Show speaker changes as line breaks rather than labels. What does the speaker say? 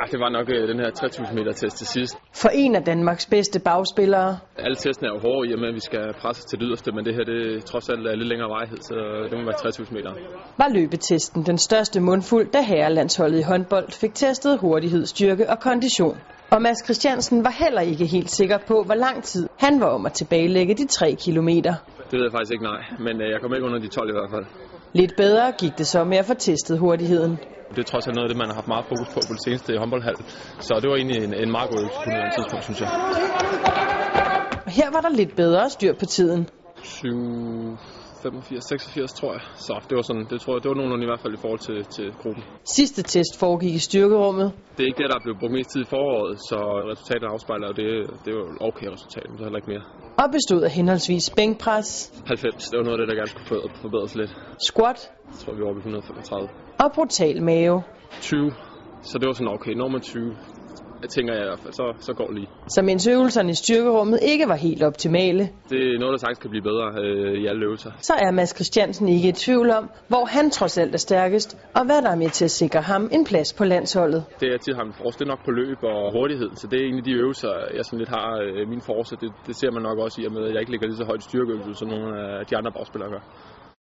Ah, det var nok øh, den her 3000 meter test til sidst.
For en af Danmarks bedste bagspillere.
Alle testen er jo hårde i og med, at vi skal presse til det yderste, men det her det er trods alt er lidt længere vejhed, så det må være 3000 meter.
var løbetesten den største mundfuld, da herrelandsholdet i håndbold fik testet hurtighed, styrke og kondition. Og Mads Christiansen var heller ikke helt sikker på, hvor lang tid han var om at tilbagelægge de 3 kilometer.
Det ved jeg faktisk ikke, nej, men øh, jeg kom ikke under de 12 i hvert fald.
Lidt bedre gik det så med at få testet hurtigheden.
Det er trods alt noget af det, man har haft meget fokus på på det seneste i håndboldhalv, så det var egentlig en, en meget god øvelse på nuværende tidspunkt, synes jeg.
Og her var der lidt bedre styr på tiden.
7, 85, 86 tror jeg. Så det var sådan, det tror jeg, det var nogenlunde i hvert fald i forhold til, til gruppen.
Sidste test foregik i styrkerummet.
Det er ikke det, der er blevet brugt mest tid i foråret, så resultatet afspejler jo det, det er jo et okay resultat, men det er heller ikke mere.
Og bestod af henholdsvis bænkpres,
90, det var noget af det, der gerne skulle forbedre- forbedres lidt.
squat
Jeg tror, vi var oppe i 135.
og brutal mave.
20, så det var sådan okay, når man 20, jeg tænker jeg i hvert fald, så, så går det lige.
Så mens øvelserne i styrkerummet ikke var helt optimale,
Det er noget, der sagtens kan blive bedre øh, i alle øvelser.
så er Mads Christiansen ikke i tvivl om, hvor han trods alt er stærkest, og hvad der er med til at sikre ham en plads på landsholdet.
Det jeg tit har min force, det er nok på løb og hurtighed, så det er egentlig de øvelser, jeg sådan lidt har øh, min force, og det, det ser man nok også i og med, at jeg ikke ligger lige så højt i styrkeøvelse, som nogle af de andre bagspillere gør.